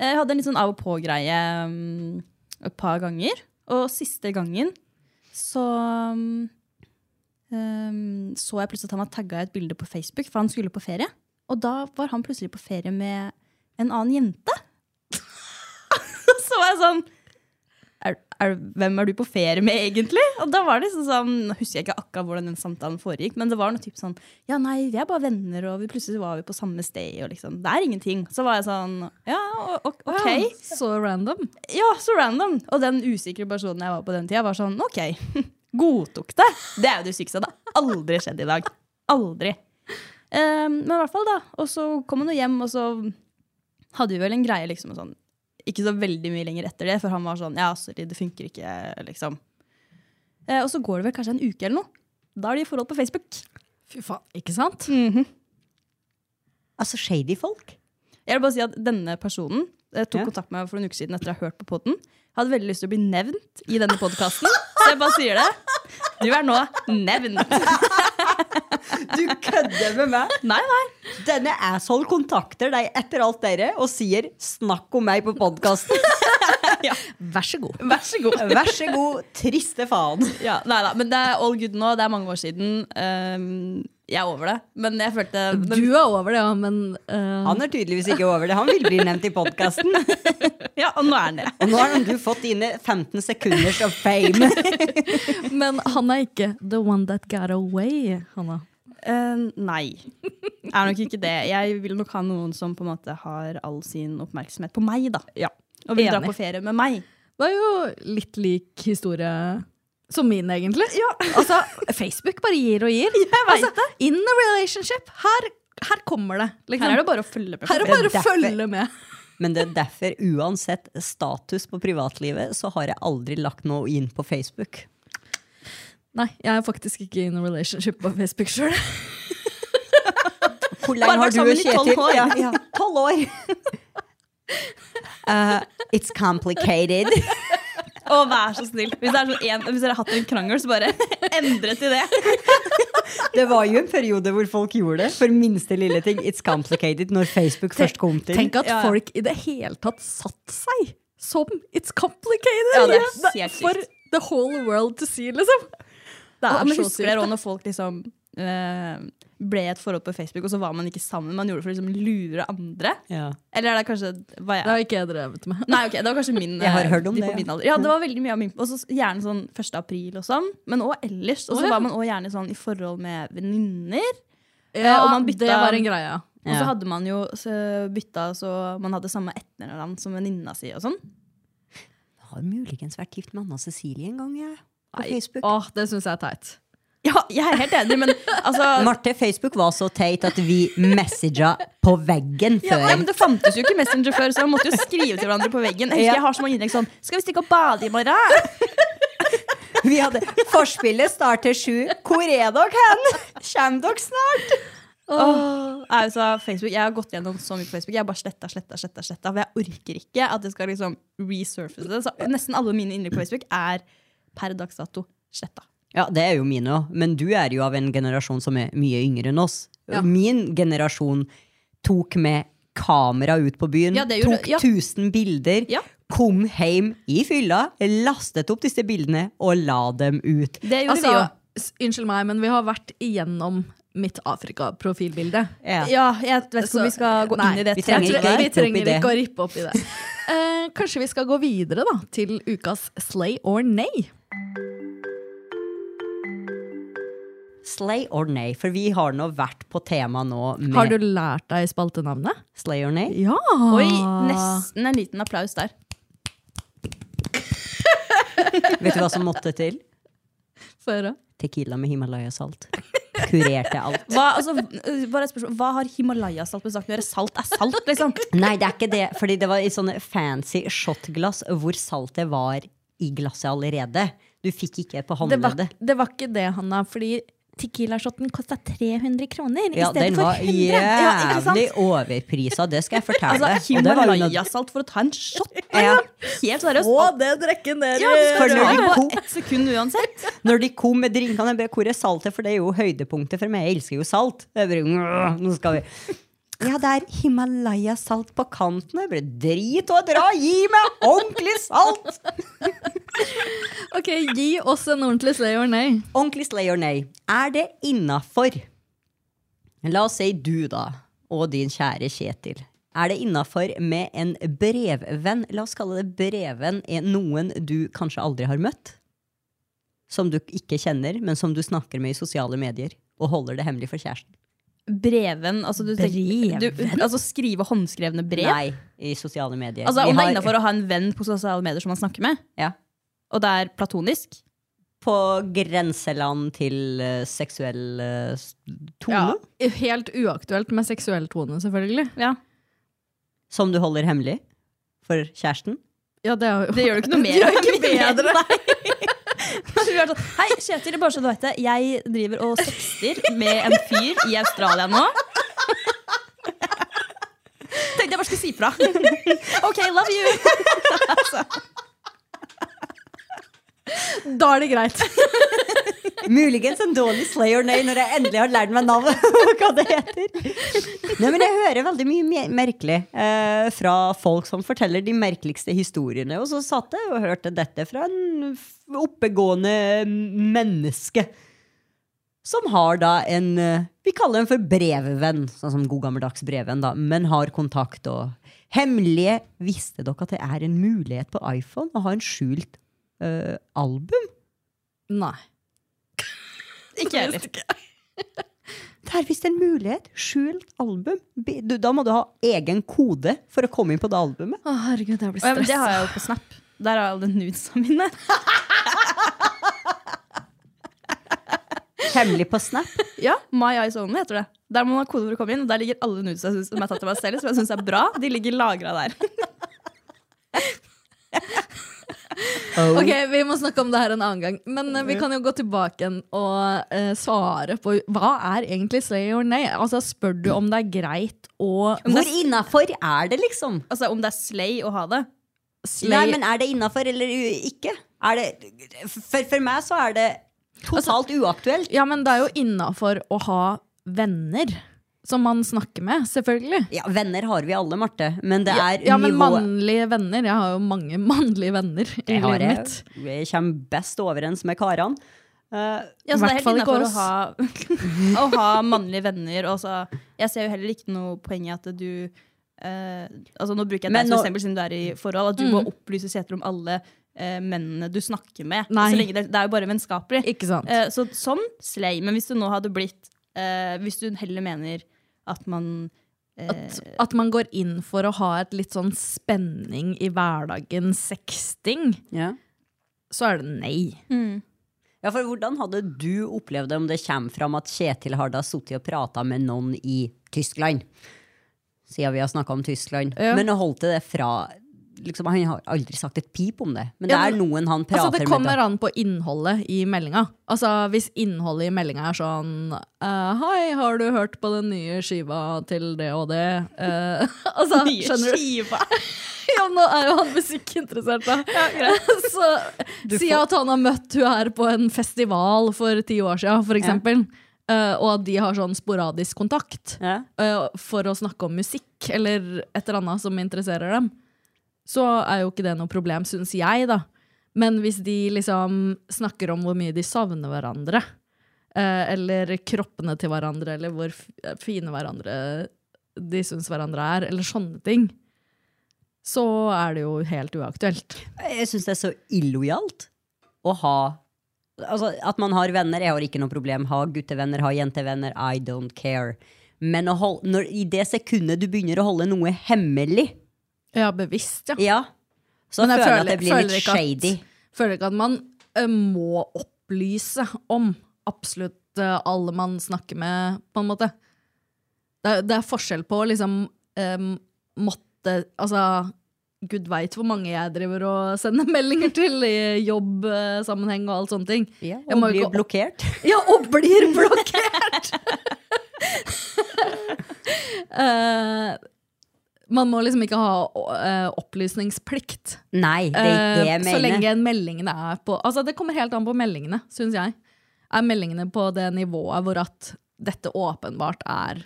Speaker 4: Jeg hadde en litt sånn av og på-greie mm, et par ganger. Og siste gangen så mm, um, så jeg plutselig at han var tagga i et bilde på Facebook, for han skulle på ferie. Og da var han plutselig på ferie med en annen jente. så var jeg sånn er, er, Hvem er du på ferie med, egentlig? Og da var det liksom sånn Nå husker jeg ikke akkurat hvordan den samtalen foregikk, men det var noe typ sånn Ja, nei, vi er bare venner, og vi plutselig var vi på samme sted, og liksom Det er ingenting. Så var jeg sånn Ja, o- o- ok.
Speaker 2: Ja, så random.
Speaker 4: Ja, så random. Og den usikre personen jeg var på den tida, var sånn OK, godtok det. Det er jo det sykeste. Det har aldri skjedd i dag. Aldri. Ehm, men i hvert fall, da. Og så kom han jo hjem, og så hadde vi vel en greie, liksom. og Sånn. Ikke så veldig mye lenger etter det, for han var sånn Ja, sorry, det funker ikke, liksom. Eh, og så går det vel kanskje en uke eller noe. Da er de i forhold på Facebook.
Speaker 2: Fy faen, ikke sant?
Speaker 3: Altså shady folk.
Speaker 4: Jeg vil bare si at denne personen eh, tok
Speaker 3: Ja.
Speaker 4: kontakt med meg for noen uker siden etter å ha hørt på podden. Hadde veldig lyst til å bli nevnt i denne podkasten, så jeg bare sier det. Du er nå nevnt.
Speaker 3: Du kødder med meg!
Speaker 4: Nei, nei.
Speaker 3: Denne asshole kontakter deg etter alt dere og sier 'snakk om meg på podkasten'.
Speaker 2: Vær så god.
Speaker 4: Vær så god.
Speaker 3: Vær så god, triste faen.
Speaker 4: Ja, nei da, men det er all good nå. Det er mange år siden. Ehm, jeg er over det. Men jeg følte
Speaker 2: Du er over det, ja, men eh,
Speaker 3: Han er tydeligvis ikke over det. Han vil bli nevnt i podkasten.
Speaker 4: Ja, og nå er den der.
Speaker 3: Og nå har du fått dine 15 sekunders of fame.
Speaker 2: Men han er ikke the one that got away, Hanna.
Speaker 4: Ehm, nei. Er nok ikke det. Jeg vil nok ha noen som på en måte har all sin oppmerksomhet på meg, da. Og vil dra
Speaker 2: Enig.
Speaker 4: på ferie med meg.
Speaker 2: Det er jo litt lik historie som min, egentlig. altså, Facebook bare gir og gir. altså, In a relationship. Her, her kommer det. liksom.
Speaker 4: Her er det bare å følge med. på
Speaker 2: Her er
Speaker 4: ferie.
Speaker 2: det bare
Speaker 3: Det er
Speaker 2: å følge med.
Speaker 3: Men det er derfor, uansett status på privatlivet, så har jeg aldri lagt noe inn på Facebook.
Speaker 2: Nei, jeg er faktisk ikke in a relationship på Facebook sjøl.
Speaker 3: Hvor
Speaker 4: Bare vært sammen i 12 år.
Speaker 3: Ja, ja. 12 år. Uh, it's complicated.
Speaker 4: Å, vær så snill. Hvis, det er sånn en, hvis dere har hatt en krangel, så bare endre til det.
Speaker 3: Det var jo en periode hvor folk gjorde det for minste lille ting. It's complicated når Facebook først kom til.
Speaker 2: Tenk at
Speaker 4: Ja, ja.
Speaker 2: folk i det hele tatt satt seg som It's complicated!
Speaker 4: Ja, det er
Speaker 2: Ja,
Speaker 4: helt sykt.
Speaker 2: For the whole world to see, liksom. Det
Speaker 4: Og,
Speaker 2: er
Speaker 4: men
Speaker 2: så
Speaker 4: husker dere
Speaker 2: sykt.
Speaker 4: også når folk liksom eh, ble i et forhold på Facebook, og så var man ikke sammen? Man gjorde det for å liksom lure andre?
Speaker 3: Ja.
Speaker 4: Eller er det kanskje hva jeg
Speaker 2: Det har ikke jeg drevet med.
Speaker 4: Nei, ok, det var kanskje min,
Speaker 3: Jeg har
Speaker 4: eh,
Speaker 3: hørt om
Speaker 4: de
Speaker 3: det,
Speaker 4: på
Speaker 3: ja.
Speaker 4: min alder. Ja, det var veldig mye av min Og så gjerne sånn 1. april og sånn, men også ellers. Og
Speaker 2: Å,
Speaker 4: så
Speaker 2: ja.
Speaker 4: var man også gjerne sånn i forhold med venninner.
Speaker 2: Ja,
Speaker 4: og man bytta-
Speaker 2: Det var en greie.
Speaker 4: Og så
Speaker 3: Ja.
Speaker 4: hadde man jo så bytta så man hadde samme etternavn som venninna si og sånn.
Speaker 3: Jeg har muligens vært gift med Anna Cecilie en gang, jeg. På Facebook.
Speaker 2: Åh, det syns jeg er teit.
Speaker 4: Ja, jeg er helt enig, men altså
Speaker 3: Marte, Facebook var så teit at vi messaga på veggen
Speaker 4: Ja,
Speaker 3: før.
Speaker 4: nei, men Det fantes jo ikke Messenger før, så man måtte jo skrive til hverandre på veggen. Jeg
Speaker 3: Ja.
Speaker 4: husker jeg har så mange innlegg sånn Skal vi stikke og bade i morgen?
Speaker 3: Vi hadde Forspillet starter sju. Hvor er dere hen? Kjem dere snart?
Speaker 4: Åh, altså, Facebook, jeg har gått gjennom så mye på Facebook. Jeg har bare sletta, sletta, sletta. sletta For jeg orker ikke at det skal liksom resurface. Så nesten alle mine innlegg på Facebook er per dags dato sletta.
Speaker 3: Ja, det er jo mine òg, men du er jo av en generasjon som er mye yngre enn oss. Min generasjon tok med kamera ut på byen,
Speaker 4: Ja, det gjorde-
Speaker 3: tok
Speaker 4: ja.
Speaker 3: 1000 bilder,
Speaker 4: Ja.
Speaker 3: kom hjem i fylla, lastet opp disse bildene og la dem ut.
Speaker 4: Det gjorde
Speaker 2: Altså,
Speaker 4: vi jo.
Speaker 2: s- Unnskyld meg, men vi har vært igjennom mitt Afrika-profilbilde.
Speaker 3: Ja.
Speaker 4: Ja, jeg vet ikke
Speaker 2: Så-
Speaker 4: om vi skal gå
Speaker 2: nei,
Speaker 4: inn i det.
Speaker 3: vi
Speaker 2: Jeg
Speaker 3: trenger
Speaker 2: tror-
Speaker 3: ikke å
Speaker 2: vi
Speaker 3: rippe opp i
Speaker 2: trenger
Speaker 3: det.
Speaker 2: ikke å rippe opp i det. Eh, kanskje vi skal gå videre da, til ukas slay or nay.
Speaker 3: Slay or nay, for vi har nå vært på tema nå med
Speaker 2: Har du lært deg spaltenavnet?
Speaker 3: Slay or nay.
Speaker 2: Ja!
Speaker 4: Oi, nesten en liten applaus der.
Speaker 3: Vet du hva som måtte til?
Speaker 2: Få høre.
Speaker 3: Tequila med Himalaya-salt. Kurerte alt.
Speaker 4: Hva, altså, øh, bare et spørsmål. Hva har Himalaya-salt med saken å gjøre? Salt er salt, liksom.
Speaker 3: Nei, det er ikke det. Fordi det var i sånne fancy shotglass hvor saltet var i glasset allerede. Du fikk ikke på
Speaker 2: Det var,
Speaker 3: håndleddet.
Speaker 2: det var ikke det, Hanna, fordi Tequila-shotten kosta 300 kroner
Speaker 3: Ja,
Speaker 2: i stedet
Speaker 3: den var
Speaker 2: for 100. Ja, ikke sant?
Speaker 3: jævlig overprisa, det skal jeg fortelle.
Speaker 4: Altså,
Speaker 3: Og det var jo noe-
Speaker 4: Himalaya-salt for å ta en shot. liksom.
Speaker 3: Ja.
Speaker 4: Helt seriøst.
Speaker 2: Få det drikke ned i-
Speaker 4: Ja, du skal
Speaker 3: For
Speaker 4: røre
Speaker 3: når de
Speaker 4: det på
Speaker 3: kom-
Speaker 4: ett sekund uansett.
Speaker 3: Når de kom med drinkene, jeg bare, hvor er saltet? For det er jo høydepunktet for meg. Jeg elsker jo salt. Jeg bare, «Åh, nå skal vi. Ja, det er Himalaya-salt på kanten. Jeg bare, drit og dra, gi meg ordentlig salt!
Speaker 2: Ok, Gi oss en ordentlig slay or nay.
Speaker 3: Ordentlig slay or nay. Er det innafor? La oss si du, da, og din kjære Kjetil. Er det innafor med en brevvenn? La oss kalle det brevvenn er noen du kanskje aldri har møtt? Som du ikke kjenner, men som du snakker med i sosiale medier, og holder det hemmelig for kjæresten.
Speaker 4: Breven, altså du tenker du, Altså skrive håndskrevne brev?
Speaker 3: Nei, i sosiale medier.
Speaker 4: Altså
Speaker 3: Vi
Speaker 4: Om det
Speaker 3: har-
Speaker 4: er innafor å ha en venn på sosiale medier som man snakker med,
Speaker 3: Ja.
Speaker 4: og det er platonisk
Speaker 3: På grenseland til eh, seksuell eh, s- tone,
Speaker 2: Ja, helt uaktuelt med seksuell tone, selvfølgelig.
Speaker 4: Ja,
Speaker 3: som du holder hemmelig for kjæresten.
Speaker 2: Ja, det, er jo-
Speaker 4: Det gjør det ikke noe mer.
Speaker 2: Det gjør ikke bedre.
Speaker 4: Nei. Du er sånn, Hei, Kjetil, bare så du vet det. Jeg driver og sexter med en fyr i Australia nå. Tenkte jeg bare skulle si fra. OK, love you.
Speaker 2: Da er det greit.
Speaker 3: Muligens en dårlig slay or nay når jeg endelig har lært meg navnet og hva det heter. Nei, men Jeg hører veldig mye me- merkelig eh, fra folk som forteller de merkeligste historiene. Og så satt jeg og hørte dette fra en f- oppegående menneske. Som har da en eh, Vi kaller den for brevvenn, sånn som god gammeldags brevvenn, da, men har kontakt og Hemmelige Visste dere at det er en mulighet på iPhone å ha en skjult eh, album?
Speaker 2: Nei.
Speaker 4: Ikke jeg heller.
Speaker 3: Det er visst en mulighet. Skjult album. Be- Du, da må du ha egen kode for å komme inn på det albumet.
Speaker 2: Å, herregud, jeg blir
Speaker 4: Å, ja, men
Speaker 2: stressa.
Speaker 4: Det har jeg jo på Snap. Der har jeg alle nudesa mine.
Speaker 3: Hemmelig på Snap.
Speaker 4: Ja, My Eyes Only heter det. Der må man ha kode for å komme inn, og der ligger alle nudesa jeg synes- som jeg har tatt av meg selv, som jeg syns er bra. De ligger lagra der.
Speaker 3: Oh.
Speaker 2: Ok, Vi må snakke om det her en annen gang. Men eh, vi kan jo gå tilbake igjen og eh, svare på hva er egentlig slay or nay. Altså, Spør du om det er greit å
Speaker 3: Hvor innafor er det, liksom?
Speaker 4: Altså om det er slay å ha det.
Speaker 3: Nei,
Speaker 2: slay
Speaker 3: men Er det innafor eller u- ikke? Er det, for, for meg så er det
Speaker 2: Altså-
Speaker 3: totalt uaktuelt.
Speaker 2: Ja, men det er jo innafor å ha venner som man snakker med, selvfølgelig.
Speaker 3: Ja, Venner har vi alle, Marte, men det er
Speaker 2: Ja, men
Speaker 3: nivået
Speaker 2: mannlige venner. Jeg har jo mange mannlige venner i
Speaker 3: Jeg har
Speaker 2: livet
Speaker 3: det.
Speaker 2: mitt.
Speaker 3: Jeg kommer best overens med karene. Eh,
Speaker 4: Ja, så det er helt
Speaker 2: Hvertfall ikke
Speaker 4: innafor å, ha- å ha mannlige venner. Og så, jeg ser jo heller ikke noe poeng i at du eh, altså Nå bruker jeg
Speaker 3: Men
Speaker 4: deg som
Speaker 3: nå-
Speaker 4: eksempel siden du er i forhold.
Speaker 2: Mm.
Speaker 4: At du må opplyse Seter om alle eh, mennene du snakker med.
Speaker 2: Nei.
Speaker 4: Så lenge det, det er jo bare vennskapelig.
Speaker 2: Ikke sant?
Speaker 4: Eh, så sånn slay. Men hvis du nå hadde blitt eh, Hvis du heller mener at man eh,
Speaker 2: At, at man går inn for å ha et litt sånn spenning i hverdagen, sexting,
Speaker 3: ja.
Speaker 2: så er det nei.
Speaker 3: Ja, for Hvordan hadde du opplevd det om det kommer fram at Kjetil har da sittet og prata med noen i Tyskland? Siden vi har snakka om Tyskland.
Speaker 2: Ja.
Speaker 3: Men holdt det fra liksom, Han har aldri sagt et pip om det. Men det
Speaker 2: Ja,
Speaker 3: er
Speaker 2: men-
Speaker 3: noen han prater
Speaker 2: Altså, det
Speaker 3: med.
Speaker 2: kommer
Speaker 3: da.
Speaker 2: an på innholdet i meldinga. Altså, hvis innholdet i meldinga er sånn eh, Hei, har du hørt på den nye skiva til det og det? Eh, altså,
Speaker 4: Nye
Speaker 2: skjønner du?
Speaker 4: skiva.
Speaker 2: Ja, nå er jo han musikkinteressert, da. Så si at han har møtt hun her på en festival for ti år siden, for eksempel. eh, og at de har sånn sporadisk kontakt
Speaker 3: Ja.
Speaker 2: eh, for å snakke om musikk eller et eller annet som interesserer dem, så er jo ikke det noe problem, syns jeg, da. Men hvis de liksom snakker om hvor mye de savner hverandre, eh, eller kroppene til hverandre, eller hvor f- eh, fine hverandre de syns hverandre er, eller sånne ting, så er det jo helt uaktuelt.
Speaker 3: Jeg syns det er så illojalt å ha Altså, at man har venner, jeg har ikke noe problem. Ha guttevenner, ha jentevenner, I don't care. Men å hol- når, i det sekundet du begynner å holde noe hemmelig,
Speaker 2: Ja, bevisst, ja.
Speaker 3: ja, så
Speaker 2: Men
Speaker 3: føler
Speaker 2: jeg
Speaker 3: jeg at det blir
Speaker 2: føler
Speaker 3: litt
Speaker 2: ikke at-
Speaker 3: shady.
Speaker 2: Føler ikke at man eh, må opplyse om absolutt eh, alle man snakker med, på en måte. Det er, det er forskjell på å liksom eh, måtte Altså, gud veit hvor mange jeg driver og sender meldinger til i jobbsammenheng og alt sånne ting.
Speaker 3: Ja,
Speaker 2: Jeg må
Speaker 3: og
Speaker 2: jo
Speaker 3: blir
Speaker 2: ikke-
Speaker 3: blokkert.
Speaker 2: Ja, og blir blokkert! Eh, man må liksom ikke ha eh, opplysningsplikt.
Speaker 3: Nei, det er ikke det jeg
Speaker 2: Eh, Så
Speaker 3: mener.
Speaker 2: lenge meldingene er på Altså Det kommer helt an på meldingene, syns jeg. Er meldingene på det nivået hvor at dette åpenbart er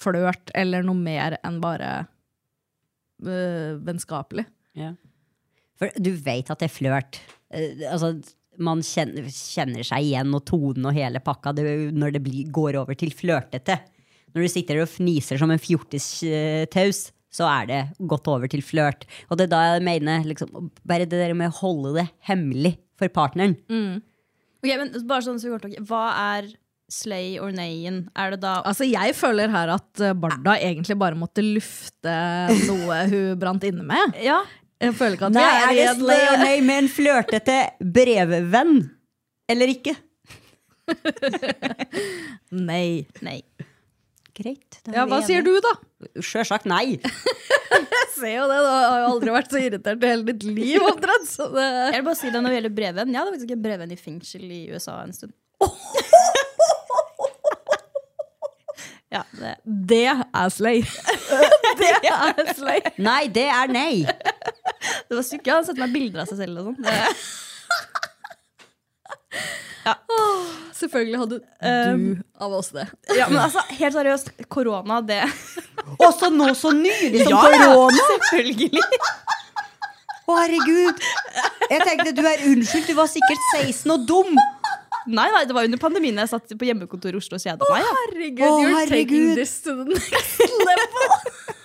Speaker 2: flørt eller noe mer enn bare eh, vennskapelig?
Speaker 3: For du vet at det er flørt. Eh, altså, man kjenner, kjenner seg igjen, og tonen og hele pakka det, er jo når det blir, går over til flørtete. Når du sitter og fniser som en fjortistaus, så er det gått over til flørt. Og det er da jeg mener liksom, bare det der med å holde det hemmelig for partneren.
Speaker 2: Mm.
Speaker 4: Ok, men bare sånn så vi går til- Hva er slay or nayen? Er det da
Speaker 2: Altså Jeg føler her at eh, Barda egentlig bare måtte lufte noe hun brant inne med.
Speaker 4: Ja.
Speaker 2: Jeg føler ikke at
Speaker 3: Nei, er
Speaker 2: vi
Speaker 3: det
Speaker 2: er i
Speaker 3: slay or
Speaker 2: en-
Speaker 3: nay med en flørtete brevvenn eller ikke?
Speaker 2: Nei.
Speaker 4: Nei.
Speaker 3: Greit.
Speaker 2: Ja, Hva sier du, da?
Speaker 3: Sjølsagt nei.
Speaker 2: Jeg ser jo det, Du har jo aldri vært så irritert i hele ditt liv. omtrent. Så det...
Speaker 4: Jeg vil bare si det når det gjelder brevvenn. Jeg hadde faktisk en brevvenn i fengsel i USA en stund. Ja, det
Speaker 2: Det er slay. det er slay.
Speaker 3: Nei, det er nei.
Speaker 4: Det var sykt. Han sendte meg bilder av seg selv og sånn. Det-
Speaker 2: Selvfølgelig hadde du av oss det.
Speaker 4: Ja, men altså, helt seriøst, korona, det
Speaker 3: Også nå så nylig som korona!
Speaker 4: Selvfølgelig.
Speaker 3: Å, herregud. Jeg tenkte du er unnskyldt, du var sikkert 16 og dum.
Speaker 4: Nei, nei, det var under pandemien jeg satt på hjemmekontor i Oslo og kjeda meg. Ja.
Speaker 2: Herregud,
Speaker 3: Å,
Speaker 2: you're taking
Speaker 3: herregud.
Speaker 2: this to the next level.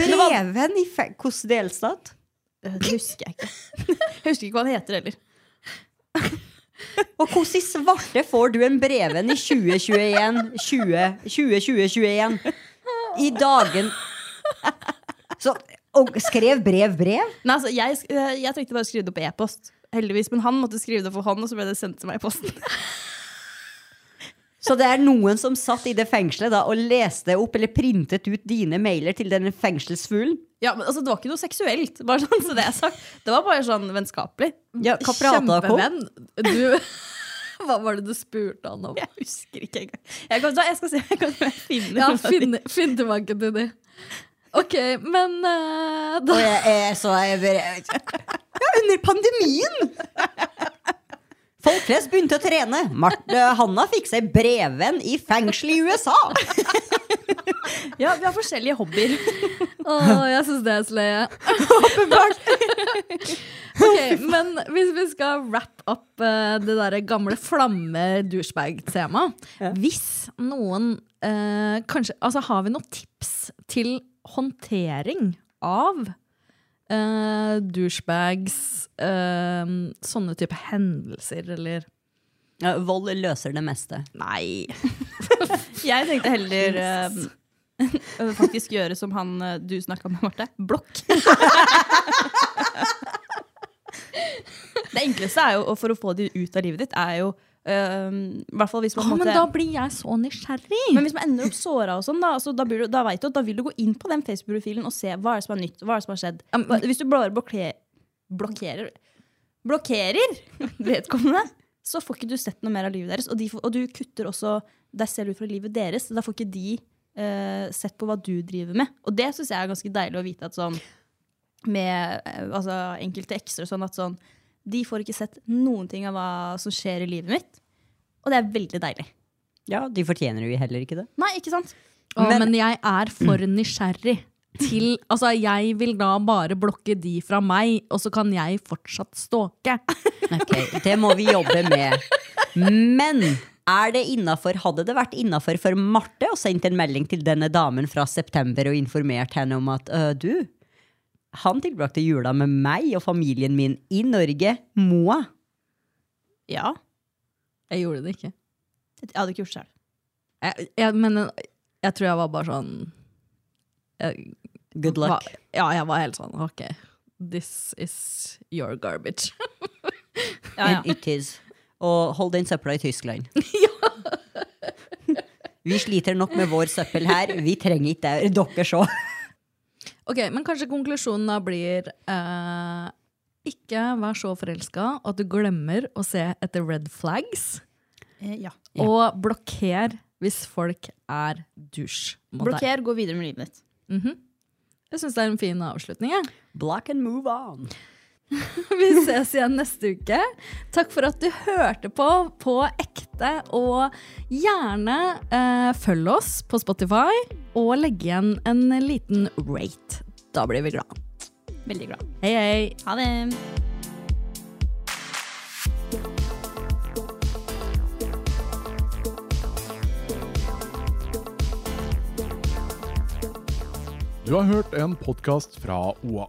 Speaker 3: Breven i fe- hvilken delstat?
Speaker 4: Det husker jeg ikke. Jeg husker ikke hva han heter heller.
Speaker 3: Og hvordan i svarte får du en breven i 2021? 20, 2021? I dagen Så og skrev brev brev?
Speaker 4: Nei, altså, jeg, sk- eh, jeg tenkte bare å skrive det på e-post, heldigvis. Men han måtte skrive det for hånd, og så ble det sendt til meg i posten.
Speaker 3: Så det er noen som satt i det fengselet da og leste opp eller printet ut dine mailer til denne fengselsfuglen?
Speaker 4: Ja, men altså, Det var ikke noe seksuelt, bare sånn så det er sagt. Det var bare sånn vennskapelig.
Speaker 3: Ja, hva pratet dere om?
Speaker 2: Kjempevenn. Du, hva var det du spurte han om?
Speaker 4: Jeg husker ikke engang. Jeg, kan, da, jeg skal se jeg kan jeg finner
Speaker 2: Ja,
Speaker 4: noe av de-
Speaker 2: finn, finn tilbake til det. Ok, men eh, da,
Speaker 3: Og jeg er så jeg bare- Ja, under pandemien! Folk flest begynte å trene. Marte Hanna fikk seg brevvenn i fengsel i USA.
Speaker 4: Ja, Vi har forskjellige hobbyer.
Speaker 2: Å, jeg syns det er sløye.
Speaker 3: Åpenbart.
Speaker 2: Ok, men hvis vi skal wrap opp eh, det der gamle flamme-douchebag-temaet Hvis noen eh, kanskje, altså Har vi noen tips til håndtering av eh, douchebags, eh, sånne type hendelser, eller
Speaker 3: Ja, vold løser det meste.
Speaker 2: Nei.
Speaker 4: Jeg tenkte heller eh, faktisk gjøre som han eh, du snakka med, Marte. Blokk. det enkleste er jo, og for å få de ut av livet ditt, er jo eh, i hvert fall hvis
Speaker 2: Å,
Speaker 4: man
Speaker 2: men
Speaker 4: måtte-
Speaker 2: da blir jeg så nysgjerrig!
Speaker 4: Men hvis man ender opp såra, og sånn, da, altså, da, blir du, da vet du at da vil du gå inn på den Facebook-profilen og se hva er det som er nytt. hva er det som har skjedd. Hva- Hvis du bare blokke- blokkerer Blokkerer vedkommende, så får ikke du sett noe mer av livet deres. Og, de, får- og du kutter også deg selv ut fra livet deres. Da får ikke de eh, sett på hva du driver med. Og det syns jeg er ganske deilig å vite at sånn med eh, altså, enkelte ekser og sånn at sånn De får ikke sett noen ting av hva som skjer i livet mitt. Og det er veldig deilig.
Speaker 3: Ja, de fortjener jo heller ikke det.
Speaker 4: Nei, ikke sant?
Speaker 2: Å,
Speaker 3: Men-
Speaker 2: men jeg er for nysgjerrig. til Altså, jeg vil da bare blokke de fra meg, og så kan jeg fortsatt stalke.
Speaker 3: Ok, det må vi jobbe med. Men er det innenfor, hadde det vært innafor for Marte å sende en melding til denne damen fra september og informert henne om at «Øh, du, han tilbrakte jula med meg og familien min i Norge, Moa?
Speaker 4: Ja.
Speaker 2: Jeg gjorde det ikke.
Speaker 4: Jeg hadde ikke gjort det selv.
Speaker 2: Jeg, jeg, men jeg tror jeg var bare sånn jeg,
Speaker 3: Good luck.
Speaker 2: Var, ja, jeg var helt sånn OK, this is your garbage.
Speaker 4: Ja, ja.
Speaker 3: And it is. Og hold den søpla i Tyskland. Vi sliter nok med vår søppel her. Vi trenger ikke det. dere så.
Speaker 2: Ok, Men kanskje konklusjonen da blir eh, ikke vær så forelska at du glemmer å se etter red flags,
Speaker 4: Eh, ja.
Speaker 2: og blokker hvis folk er dusj mot deg.
Speaker 4: Blokker, gå videre med livet ditt.
Speaker 2: Jeg syns det er en fin avslutning. jeg.
Speaker 3: Block and move on.
Speaker 2: Vi ses igjen neste uke. Takk for at du hørte på på ekte. Og gjerne eh, følg oss på Spotify og legg igjen en liten rate. Da blir vi glad.
Speaker 4: Veldig glad.
Speaker 2: Hei, hei.
Speaker 4: Ha det!
Speaker 1: Du har hørt en podkast fra OA.